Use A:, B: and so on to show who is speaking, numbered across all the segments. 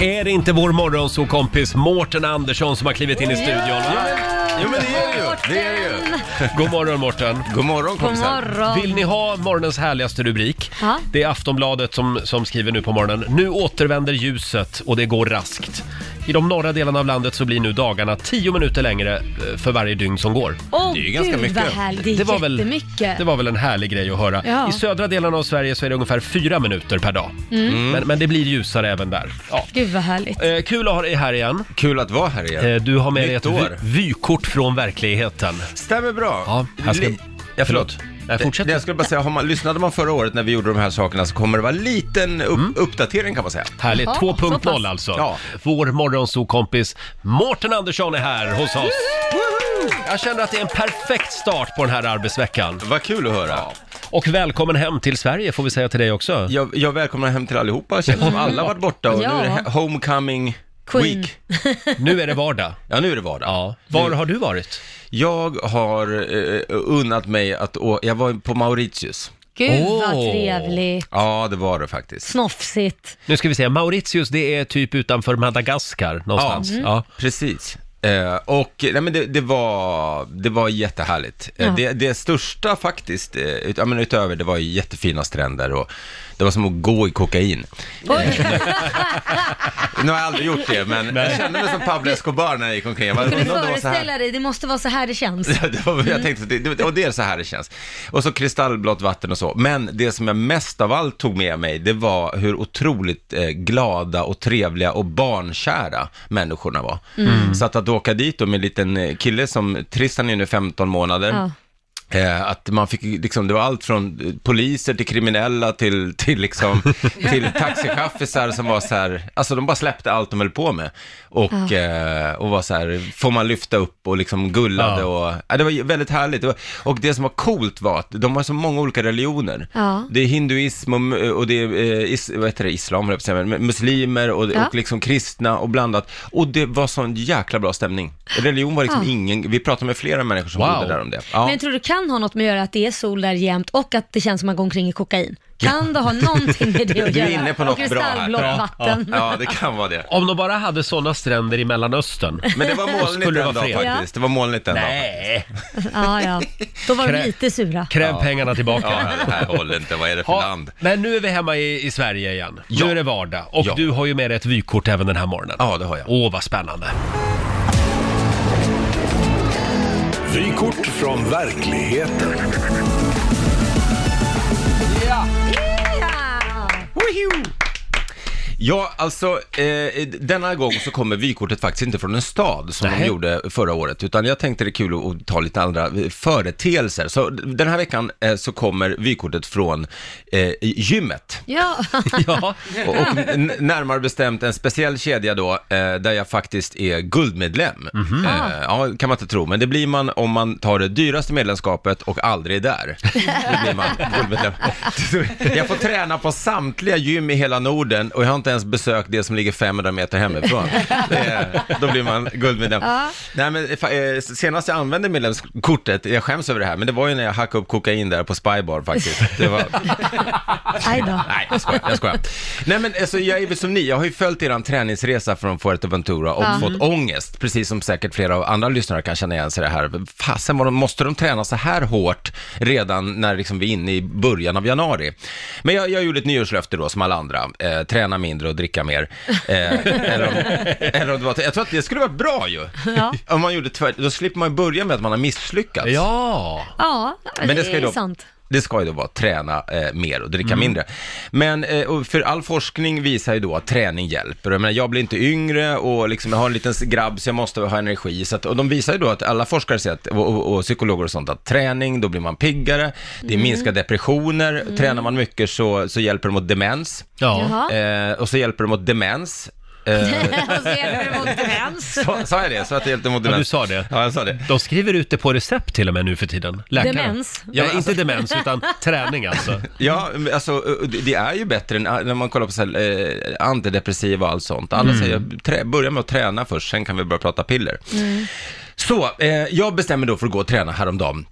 A: Är det inte vår morgonsåkompis Mårten Andersson som har klivit in i studion? Va?
B: Jo men det är det ju, det är det ju.
A: God morgon Mårten!
B: God morgon
C: God
B: kompisar.
C: morgon.
A: Vill ni ha morgonens härligaste rubrik?
C: Ja.
A: Det är Aftonbladet som, som skriver nu på morgonen. Nu återvänder ljuset och det går raskt. I de norra delarna av landet så blir nu dagarna 10 minuter längre eh, för varje dygn som går.
C: Åh
B: Det är ju ganska
C: gud
B: mycket.
C: vad härligt, det är
A: Det var väl-
C: jättemycket.
A: Det var väl en härlig grej att höra.
C: Ja.
A: I södra delarna av Sverige så är det ungefär 4 minuter per dag.
C: Mm.
A: Men, men det blir ljusare även där. Ja.
C: Gud vad härligt.
A: Eh, Kul att ha dig här igen.
B: Kul att vara här igen.
A: Eh, Du har med dig ett
B: Nytt
A: vy-
B: år.
A: vykort från verkligheten.
B: Stämmer bra.
A: Ja, jag ska...
B: Li-
A: Ja, förlåt. Nej, fortsätt.
B: Nej, Jag skulle bara säga, har man, lyssnade man förra året när vi gjorde de här sakerna så kommer det vara en liten upp,
A: Mm.
B: uppdatering kan man säga.
A: Härligt.
C: Jaha,
A: 2.0
C: så
A: alltså.
B: Ja.
A: Vår morgonsokompis Mårten Andersson är här hos oss. Jag känner att det är en perfekt start på den här arbetsveckan.
B: Vad kul att höra.
A: Och välkommen hem till Sverige får vi säga till dig också.
B: Jag, jag välkomnar hem till allihopa, känns som alla har varit borta och nu är det he-
C: Ja.
B: homecoming
C: Queen.
B: week.
A: Nu är det vardag.
B: Ja, nu är det vardag.
A: Ja. Var har du varit?
B: Jag har eh, unnat mig att å- jag var på Mauritius.
C: Gud vad
A: Åh.
C: trevligt.
B: Ja, det var det faktiskt.
C: Snofsigt.
A: Nu ska vi se, Mauritius det är typ utanför Madagaskar någonstans. Ja.
B: Precis. Eh, och nej, men det, det, var, det var jättehärligt. Eh,
C: Ja.
B: Det, det största faktiskt, eh, ut, ja, men utöver, det var ju jättefina stränder och det var som att gå i kokain.
C: Oj,
B: Nu har jag aldrig gjort det, men jag kände mig som Pablo Escobar när jag gick omkring. Jag bara,
C: kan du
B: undrar om det var så här.
C: föreställa dig, det måste vara så här det känns. Mm.
B: Det var, jag tänkte, det- det, och det är så här det känns. Och så kristallblått vatten och så. Men det som jag mest av allt tog med mig, det var hur otroligt eh, glada och trevliga och barnkära människorna var.
C: Mm.
B: Så att, att åka dit då med en liten eh, kille som, Tristan är nu 15 månader.
C: Ja.
B: Eh, att man fick, liksom, det var allt från eh, poliser till kriminella till, till, liksom, till taxichaffisar som var så här, alltså de bara släppte allt de höll på med. Och, eh, och var så här, får man lyfta upp och liksom gullade
A: Ja.
B: och, ja, det var ju väldigt härligt. Det var- Och det som var coolt var att de har så många olika religioner.
C: Ja.
B: Det är hinduism och, och det är, eh, is, vad heter det, islam, höll jag på att säga, men muslimer och,
C: Ja.
B: och liksom kristna och blandat. Och det var sån jäkla bra stämning. Religion var liksom
C: Ja.
B: ingen, vi pratade med flera människor som
A: Wow.
B: bodde där om det. Ja.
C: Men tror du kan ha något med att göra att det är sol där jämt och att det känns som att man går omkring i kokain? Kan det ha någonting med det att
B: Du
C: göra?
B: är inne på något
C: och
B: bra här.
C: kristallblått
B: Ja,
C: vatten.
B: Ja, det kan vara det.
A: Om de bara hade sådana stränder i Mellanöstern.
B: Men det var molnigt
A: Skulle det
B: en
A: vara
B: dag
A: fred?
B: faktiskt. Det var molnigt en dag.
A: Nej,
C: Ja, ja. Då var
A: Krä-
C: de lite sura.
A: kräv pengarna tillbaka.
B: Ja, det här håller inte. Vad är det för
A: Ja,
B: land?
A: men nu är vi hemma i, i Sverige igen.
B: Ja.
A: Nu är det vardag och
B: Ja.
A: du har ju med dig ett vykort även den här morgonen.
B: Ja, det har jag.
A: Åh, vad spännande.
D: Vykort från verkligheten.
C: Ja.
B: Ja, alltså eh, denna gång så kommer vykortet faktiskt inte från en stad som
A: Nej.
B: de gjorde förra året, utan jag tänkte det är kul att- att ta lite andra eh, företeelser. Så den här veckan eh, så kommer vykortet från eh, gymmet.
C: Ja.
A: Ja.
B: Och, och n- närmare bestämt en speciell kedja då, eh, där jag faktiskt är guldmedlem. Eh, ja, kan man inte tro, men det blir man om man tar det dyraste medlemskapet och aldrig är där. Då blir man guldmedlem. Jag får träna på samtliga gym i hela Norden och jag har inte ens besökt det som ligger 500 meter hemifrån. Det, är- då blir man guldmedlem. Nej, men, eh, fa- eh, senast jag använde medlemskortet, jag skäms över det här, men det var ju när jag hackade upp kokain där på Spybar faktiskt. Det var,
C: Aj då.
B: Nej, jag skojar. Jag skojar. Nej, men alltså, jag är väl som ni. Jag har ju följt er träningsresa från Fuerteventura och fått ångest, precis som säkert flera av andra lyssnare kan känna igen sig i det här. Fasen, vad de, måste de träna så här hårt redan när liksom, vi är inne i början av januari? Men jag, jag gjorde ett nyårslöfte då, som alla andra. Eh, träna mindre och dricka mer. Eh, eller om, eller om det var, jag tror att det skulle vara bra ju.
C: Ja.
B: Om man gjorde tvärt, då slipper man ju börja med att man har misslyckats.
A: ja.
C: Ja,
B: Men det ska ju
C: är
B: då,
C: sant. Mm.
B: Det ska ju då vara träna eh, mer och dricka mindre. Men eh, och för all forskning visar ju då att träning hjälper. Jag, menar, jag blir inte yngre och liksom, jag har en liten grabb så jag måste ha energi. Så att, och de visar ju då att alla forskare säger, att, och, och, och psykologer och sånt, att träning, då blir man piggare, det
C: Mm.
B: minskar depressioner, tränar man mycket så, så hjälper det mot demens.
A: ja.
C: Jaha.
B: Eh, och så hjälper det mot demens. Eh,
C: Och så hjälper det mot demens.
B: sa, sa jag det? Så att det hjälpte mot
A: Ja,
B: demens?
A: du sa det.
B: Ja, jag sa det.
A: De skriver ut det på recept till och med nu för tiden. Läkaren.
C: Demens.
A: Ja, inte demens utan träning alltså.
B: Ja, men alltså det- det är ju bättre än när man kollar på så här, eh, antidepressiva och allt sånt. Alla säger, trä, börja med att träna först, sen kan vi börja prata piller. Så, eh, jag bestämmer då för att gå och träna häromdagen.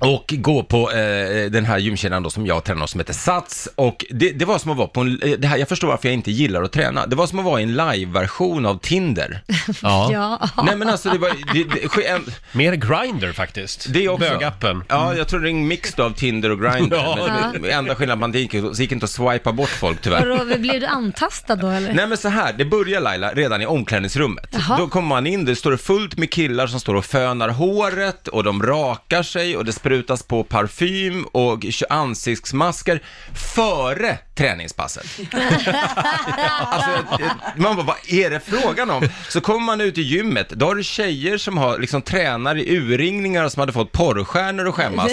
B: Och gå på eh, den här gymkedjan då som jag tränar som heter Sats. Och det, det var som att vara på en, eh, det här, jag förstår varför jag inte gillar att träna. Det var som att vara i en live-version av Tinder.
A: Ja.
C: Ja.
B: Nej men alltså det var, det, det, ske- en-
A: Mer Grindr faktiskt.
B: det är också.
A: Bögappen.
B: Ja, jag tror det är en mix då av Tinder och Grindr.
A: Ja.
B: Men det- enda skillnaden man det gick, så gick inte att swipa bort folk tyvärr.
C: Och då, blev du antastad då eller?
B: Nej men så här, det börjar Laila redan i omklädningsrummet.
C: Jaha.
B: Då kommer man in, det står fullt med killar som står och fönar håret och de rakar sig och det sprutas på parfym och ansiktsmasker före träningspasset. alltså, man bara, vad är det frågan om? Så kommer man ut i gymmet, då har du tjejer som har, liksom, tränar i urringningar och som hade fått porrstjärnor att skämmas.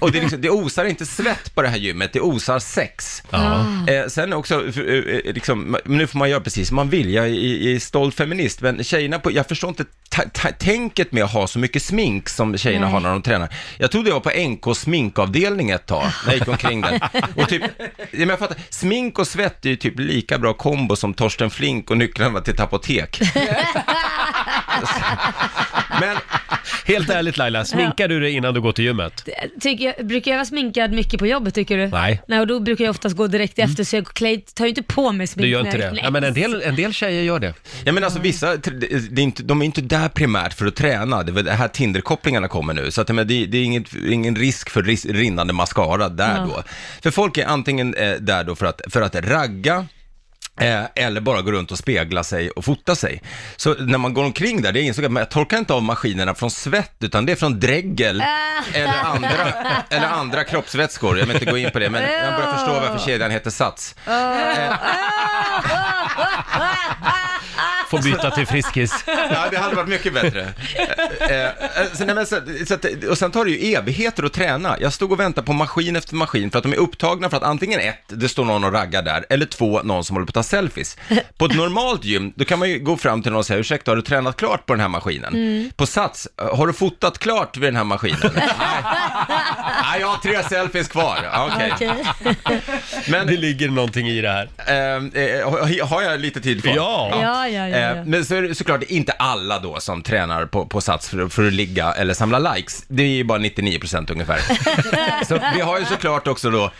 B: Och det, är liksom, det osar inte svett på det här gymmet, det osar sex. Eh, sen också, eh, eh, liksom, ma- nu får man göra precis som man vill, jag är, är är stolt feminist, men tjejerna på, jag förstår inte ta, ta, tänket med att ha så mycket smink som tjejerna har när de tränar. Jag trodde jag var på NK sminkavdelning ett tag, när jag gick omkring där. Och typ, ja, men jag fattar, smink och svett är ju typ lika bra kombo som Torsten Flink och nycklarna till ett apotek. men,
A: Helt ärligt Laila, sminkar du dig innan du går till gymmet?
C: Tycker jag, brukar jag vara sminkad mycket på jobbet tycker du?
A: Nej. Mm.
C: Nej, och då brukar jag oftast gå direkt efter så jag klä- tar ju inte på mig smink.
A: Du gör
C: när
A: inte
C: jag-
A: det?
C: Nej.
A: Ja, men en del, en del tjejer gör det.
B: Ja men alltså vissa, det är inte, de är inte där primärt för att träna, det är väl det här Tinder-kopplingarna kommer nu, så att, men det, det är inget, ingen risk för ris, rinnande mascara där då. För folk är antingen eh, där då för att, för att ragga, eh, eller bara gå runt och spegla sig och fota sig. Så när man går omkring där, det insåg jag, men jag torkar inte av maskinerna från svett, utan det är från dregel eller andra, eller andra kroppsvätskor. Jag vill inte gå in på det, men jag börjar förstå varför kedjan heter Sats.
A: Eh. Får byta till Friskis.
B: Ja, det hade varit mycket bättre. Eh, eh, så, nej, men, så, så att, och sen tar det ju evigheter att träna. Jag stod och väntade på maskin efter maskin för att de är upptagna för att antingen ett, det står någon och raggar där, eller två, någon som håller på att ta selfies. På ett normalt gym, då kan man ju gå fram till någon och säga, ursäkta, har du tränat klart på den här maskinen?
C: Mm.
B: På Sats, "Eh, har du fotat klart vid den här maskinen? Nej, Nej, jag har tre selfies kvar. Ja, Okej.
C: Okej.
B: Men
A: Det ligger någonting i det här.
B: eh, eh, har- har jag lite tid kvar?
A: Ja.
C: Ja, ja, ja. ja.
B: Eh, Men så är det såklart inte alla då som tränar på, på Sats för, för att ligga eller samla likes. Det är ju bara 99% ungefär. så vi har ju såklart också då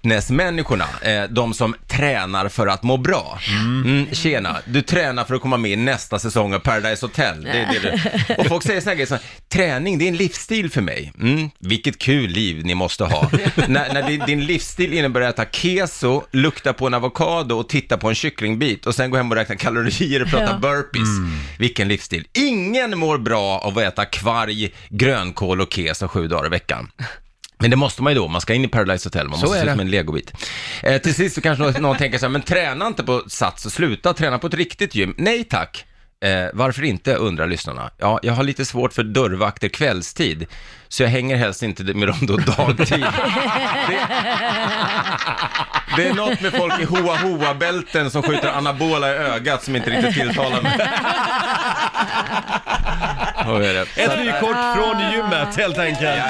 B: fitnessmänniskorna, eh, de som tränar för att må bra. Mm, tjena, du tränar för att komma med i nästa säsong av Paradise Hotel. Det, är det du. Och folk säger så här grejer som, träning det är en livsstil för mig. Mm, vilket kul liv ni måste ha. när när din, din livsstil innebär att äta keso, lukta på en avokado och titta på en kycklingbit och sen gå hem och räkna kalorier och prata
C: Ja.
B: burpees.
A: Mm.
B: Vilken livsstil. Ingen mår bra av att äta kvarg, grönkål och keso sju dagar i veckan. Men det måste man ju då, man ska in i Paradise Hotel, man
A: Så
B: måste
A: är
B: se ut
A: det.
B: som en legobit. Eh, till sist så kanske någon, någon tänker så här, men träna inte på Sats och sluta, träna på ett riktigt gym. Nej tack. Eh, varför inte, undrar lyssnarna. Ja, jag har lite svårt för dörrvakter kvällstid, så jag hänger helst inte med dem då dagtid. Det, det är något med folk i hoa hoa bälten som skjuter anabola i ögat som inte riktigt tilltalar mig. Vad är det?
A: Ett vykort från gymmet helt enkelt.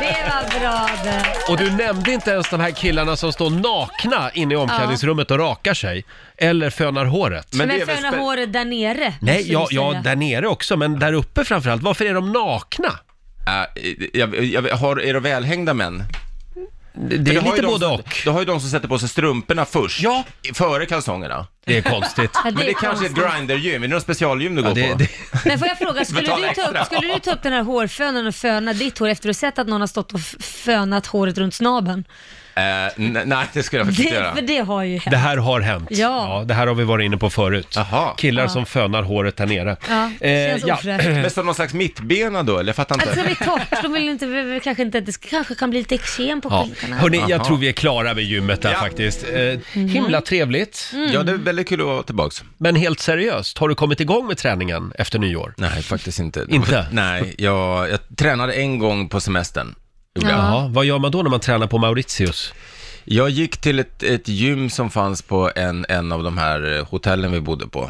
C: Det var bra det.
A: Och du nämnde inte ens de här killarna som står nakna inne i omklädningsrummet och rakar sig. Eller fönar håret.
C: Men,
B: det är
C: men
B: väl
C: föna
B: spä-
C: håret där nere.
A: Nej,
C: måste
A: ja,
C: vi säga.
A: ja, där nere också, men där uppe framförallt. Varför är de nakna?
B: Äh, jag, jag, har, är det välhängda män?
A: Det, det är
B: För har ju
A: lite
B: de
A: både
B: som,
A: och.
B: Du har ju de som sätter på sig strumporna först.
A: Ja.
B: Före kalsongerna.
A: Det är konstigt.
C: Ja,
B: Men det
C: är
B: är kanske är
C: konstigt.
B: ett grindergym, är det något specialgym du
A: Ja,
B: går
A: det,
B: på?
A: det,
C: Men får jag fråga, skulle
B: Betala
C: du, ta upp,
B: extra.
C: skulle du ta upp den här hårfönen och föna ditt hår efter att ha sett att någon har stått och f- fönat håret runt snabeln?
B: Eh, ne- nej, det skulle jag faktiskt inte
C: Det,
B: göra.
C: för det har ju hänt.
A: det här har hänt.
C: Ja.
A: det här har vi varit inne på förut.
B: Jaha.
A: Killar som fönar håret där nere.
C: Eh,
A: Eh,
C: Ja, det känns ofräscht.
B: Men som någon slags mittbena då, eller jag fattar
C: Att det
B: inte.
C: ska bli torrt, de vill inte, vi- kanske inte, det ska- kanske kan bli lite eksem på
A: Ja.
C: skinkorna.
A: Hörni, jag
B: Jaha.
A: tror vi är klara med gymmet där
B: Ja.
A: faktiskt. Eh,
C: Mhm.
A: himla trevligt,
B: Ja, det är väldigt kul att vara tillbaks.
A: men helt seriöst. Har du kommit igång med träningen efter nyår?
B: Nej, faktiskt inte.
A: Inte?
B: Nej, jag, jag tränade en gång på semestern. Gjorde jag.
A: Ja, vad gör man då när man tränar på Mauritius?
B: Jag gick till ett, ett gym som fanns på en, en av de här eh, hotellen vi bodde på.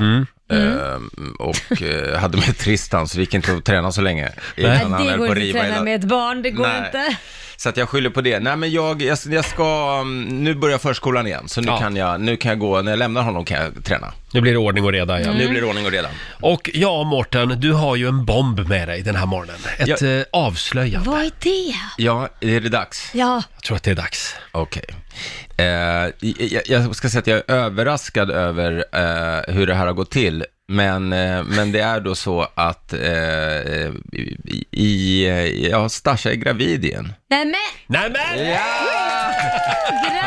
B: Ehm, och eh, hade med Tristan, så det gick inte att träna så länge.
A: Nej,
B: Innan han
C: det
B: höll på
C: går
B: att
C: inte att
B: riva
C: träna
B: hela-
C: med ett barn, det går
B: Nej.
C: inte.
B: Så att jag skyller på det. Nej men jag, jag, jag ska, mm, nu börjar förskolan igen, så nu,
A: Ja.
B: kan jag, nu kan jag gå, när jag lämnar honom kan jag träna.
C: Mm.
A: Nu blir det ordning och reda igen.
B: Nu blir det ordning och reda.
A: Och ja, Mårten, du har ju en bomb med dig den här morgonen. Ett
B: Ja.
A: eh, avslöjande.
C: Vad är det?
B: Ja, är det dags?
C: Ja,
A: Jag tror att det är dags.
B: Okej. Eh, jag, jag ska säga att jag är överraskad över eh, hur det här har gått till. Men, eh, men det är då så att eh, i, i, ja, Stasha är gravid igen.
C: nej men
A: Nej men!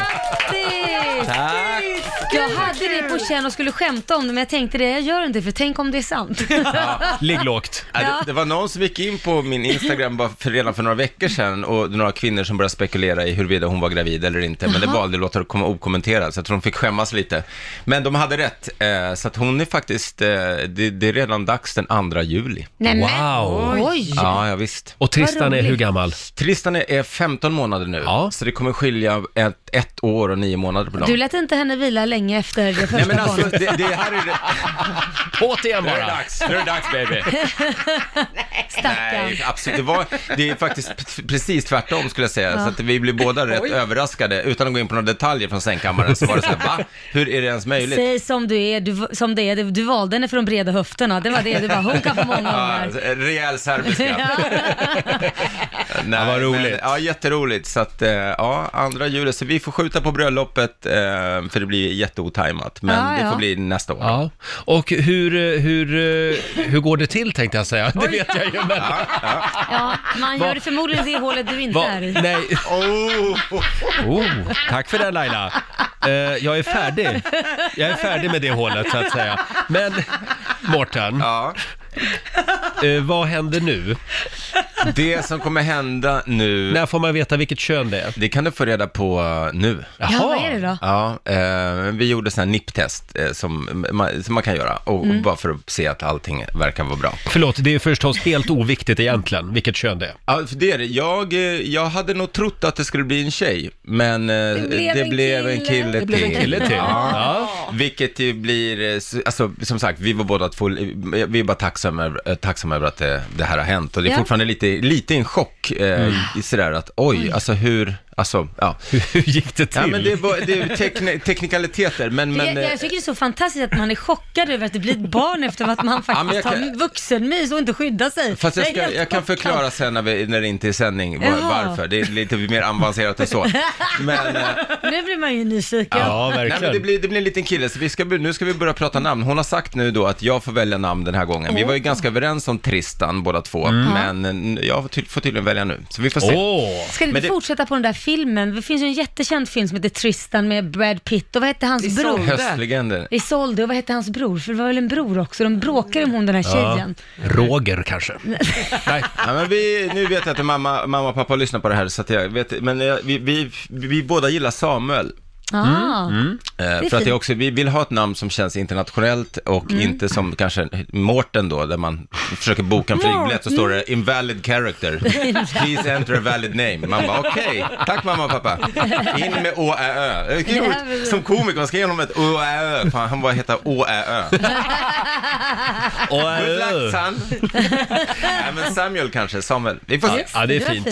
C: grattis!
B: Tack!
C: Jag hade det på känn och skulle skämta om det men jag tänkte det, jag gör inte för tänk om det är sant.
A: Ligg lågt.
B: Ja. Det, det var någon som gick in på min Instagram bara för, redan för några veckor sedan och några kvinnor som började spekulera i huruvida hon var gravid eller inte, men det valde att låta det komma okommenterat, så jag tror de fick skämmas lite. Men de hade rätt, eh, så att hon är faktiskt, eh, det, det är redan dags den 2 juli.
C: Nej,
A: Wow.
C: Men, oj!
B: Ja, ja visst.
A: Och Tristan
C: Vad
A: är
C: roligt.
A: hur gammal?
B: Tristan är- är 15 månader nu,
A: Ja.
B: så det kommer skilja ett, ett år och nio månader på dem.
C: Du lät inte henne vila länge efter det första
B: Nej men alltså,
C: barnet.
B: det, det här är det.
A: Återigen
B: Nu är det
A: bara.
B: dags, nu är det dags baby.
C: Stackarn.
B: Nej, absolut. Det, var, det är faktiskt p- precis tvärtom skulle jag säga. Så att vi blev båda rätt överraskade. Utan att gå in på några detaljer från sängkammaren så var det så här, va? Hur är det ens möjligt?
C: Säg som du är, du, som det är. Du valde henne för de breda höfterna. Det var det. Du bara, hon kan få många
B: Ja,
C: ungar.
B: rejäl serbiska.
C: Mm. Ja.
B: Nej,
A: Ja, vad roligt.
B: Men, ja, jätteroligt. Så att, eh, ja, andra juli. Så vi får skjuta på bröllopet, eh, för det blir jätteotajmat. Men
C: Ja,
B: det
C: ja.
B: får bli nästa år.
A: Ja, och hur, eh, hur, eh, hur går det till tänkte jag säga, det vet jag ju men...
C: Ja, man
A: Va-
C: gör det förmodligen i det hålet du inte
A: Va?
C: är i.
A: Nej,
B: Oh.
A: oh, tack för det Laila. Eh, jag är färdig. Jag är färdig med det hålet så att säga. Men Mårten,
B: Ja.
A: eh, vad händer nu?
B: Det som kommer hända nu,
A: När får man veta vilket kön det är?
B: det kan du få reda på eh, nu.
C: Ja, vad är det då?
B: Ja, eh, vi gjorde sådana här nipptest eh, som, man, som man kan göra, och,
C: Mm.
B: bara för att se att allting verkar vara bra.
A: Förlåt, det är förstås helt oviktigt egentligen vilket kön det är.
B: Ja, för det är det. Jag, eh, jag hade nog trott att det skulle bli en tjej, men eh, det
C: blev en kille.
A: Det blev en kille till.
B: Ja.
A: Ja.
B: Vilket ju blir, eh, s- alltså som sagt, vi var båda två, eh, vi är bara tacksamma, över- eh, tacksamma över att det, det här har hänt. Och det är
C: Ja.
B: fortfarande lite, lite en chock, eh,
A: Mm.
B: i sådär att oj, alltså hur, alltså, ja.
A: Hur gick det till?
B: Ja, men det, var, det är tekni- teknikaliteter, men... men
C: jag,
B: eh,
C: jag tycker det är så fantastiskt att man är chockad över att det blir ett barn efter att man
B: Ja, men
C: faktiskt
B: jag kan-
C: har vuxenmys och inte skyddar sig.
B: Fast jag,
C: är
B: ska,
C: helt
B: jag kan
C: chockad.
B: förklara sen när, vi, när det inte är sändning var,
C: Jaha.
B: varför. Det är lite mer avancerat än så. Men, eh,
C: Nu blir man ju nyfiken.
A: Ja,
B: nej, men det,
A: verkligen.
B: blir, det blir en liten kille, så vi ska, nu ska vi börja prata namn. Hon har sagt nu då att jag får välja namn den här gången. Vi var ju ganska överens om Tristan båda två, men eh, jag får, ty- får tydligen välja nu. Så vi får se.
A: Mm. Åh!
C: Ska du
B: Men
C: inte
B: det-
C: fortsätta på den där filmen? Det finns ju en jättekänd film som heter Tristan med Brad Pitt och vad hette hans
E: Isolde.
C: bror?
B: Höstlegender.
C: Isolde och vad hette hans bror? För det var väl en bror också? De bråkade om hon den här tjejen.
A: Roger kanske? Nej.
B: Ja, men vi, nu vet jag att mamma, mamma och pappa lyssnar på det här, så att jag vet, men eh, vi, vi, vi båda gillar Samuel.
C: Ah.
B: Eh,
C: är
B: för att det
C: fint.
B: också, vi vill ha ett namn som känns internationellt och inte som kanske Mårten då, där man försöker boka en flygbiljett så står det invalid character. Please enter a valid name. Man bara okej, tack mamma och pappa. In med å ä ö. Det är roligt. Som komiker, man ska ge honom ett å ä ö. Fan, han bara heter å ä ö.
A: Och, eh,
B: Good luck son. Nej men Samuel kanske, Samuel. Vi får se.
A: ja, det är
C: Det var
A: fint.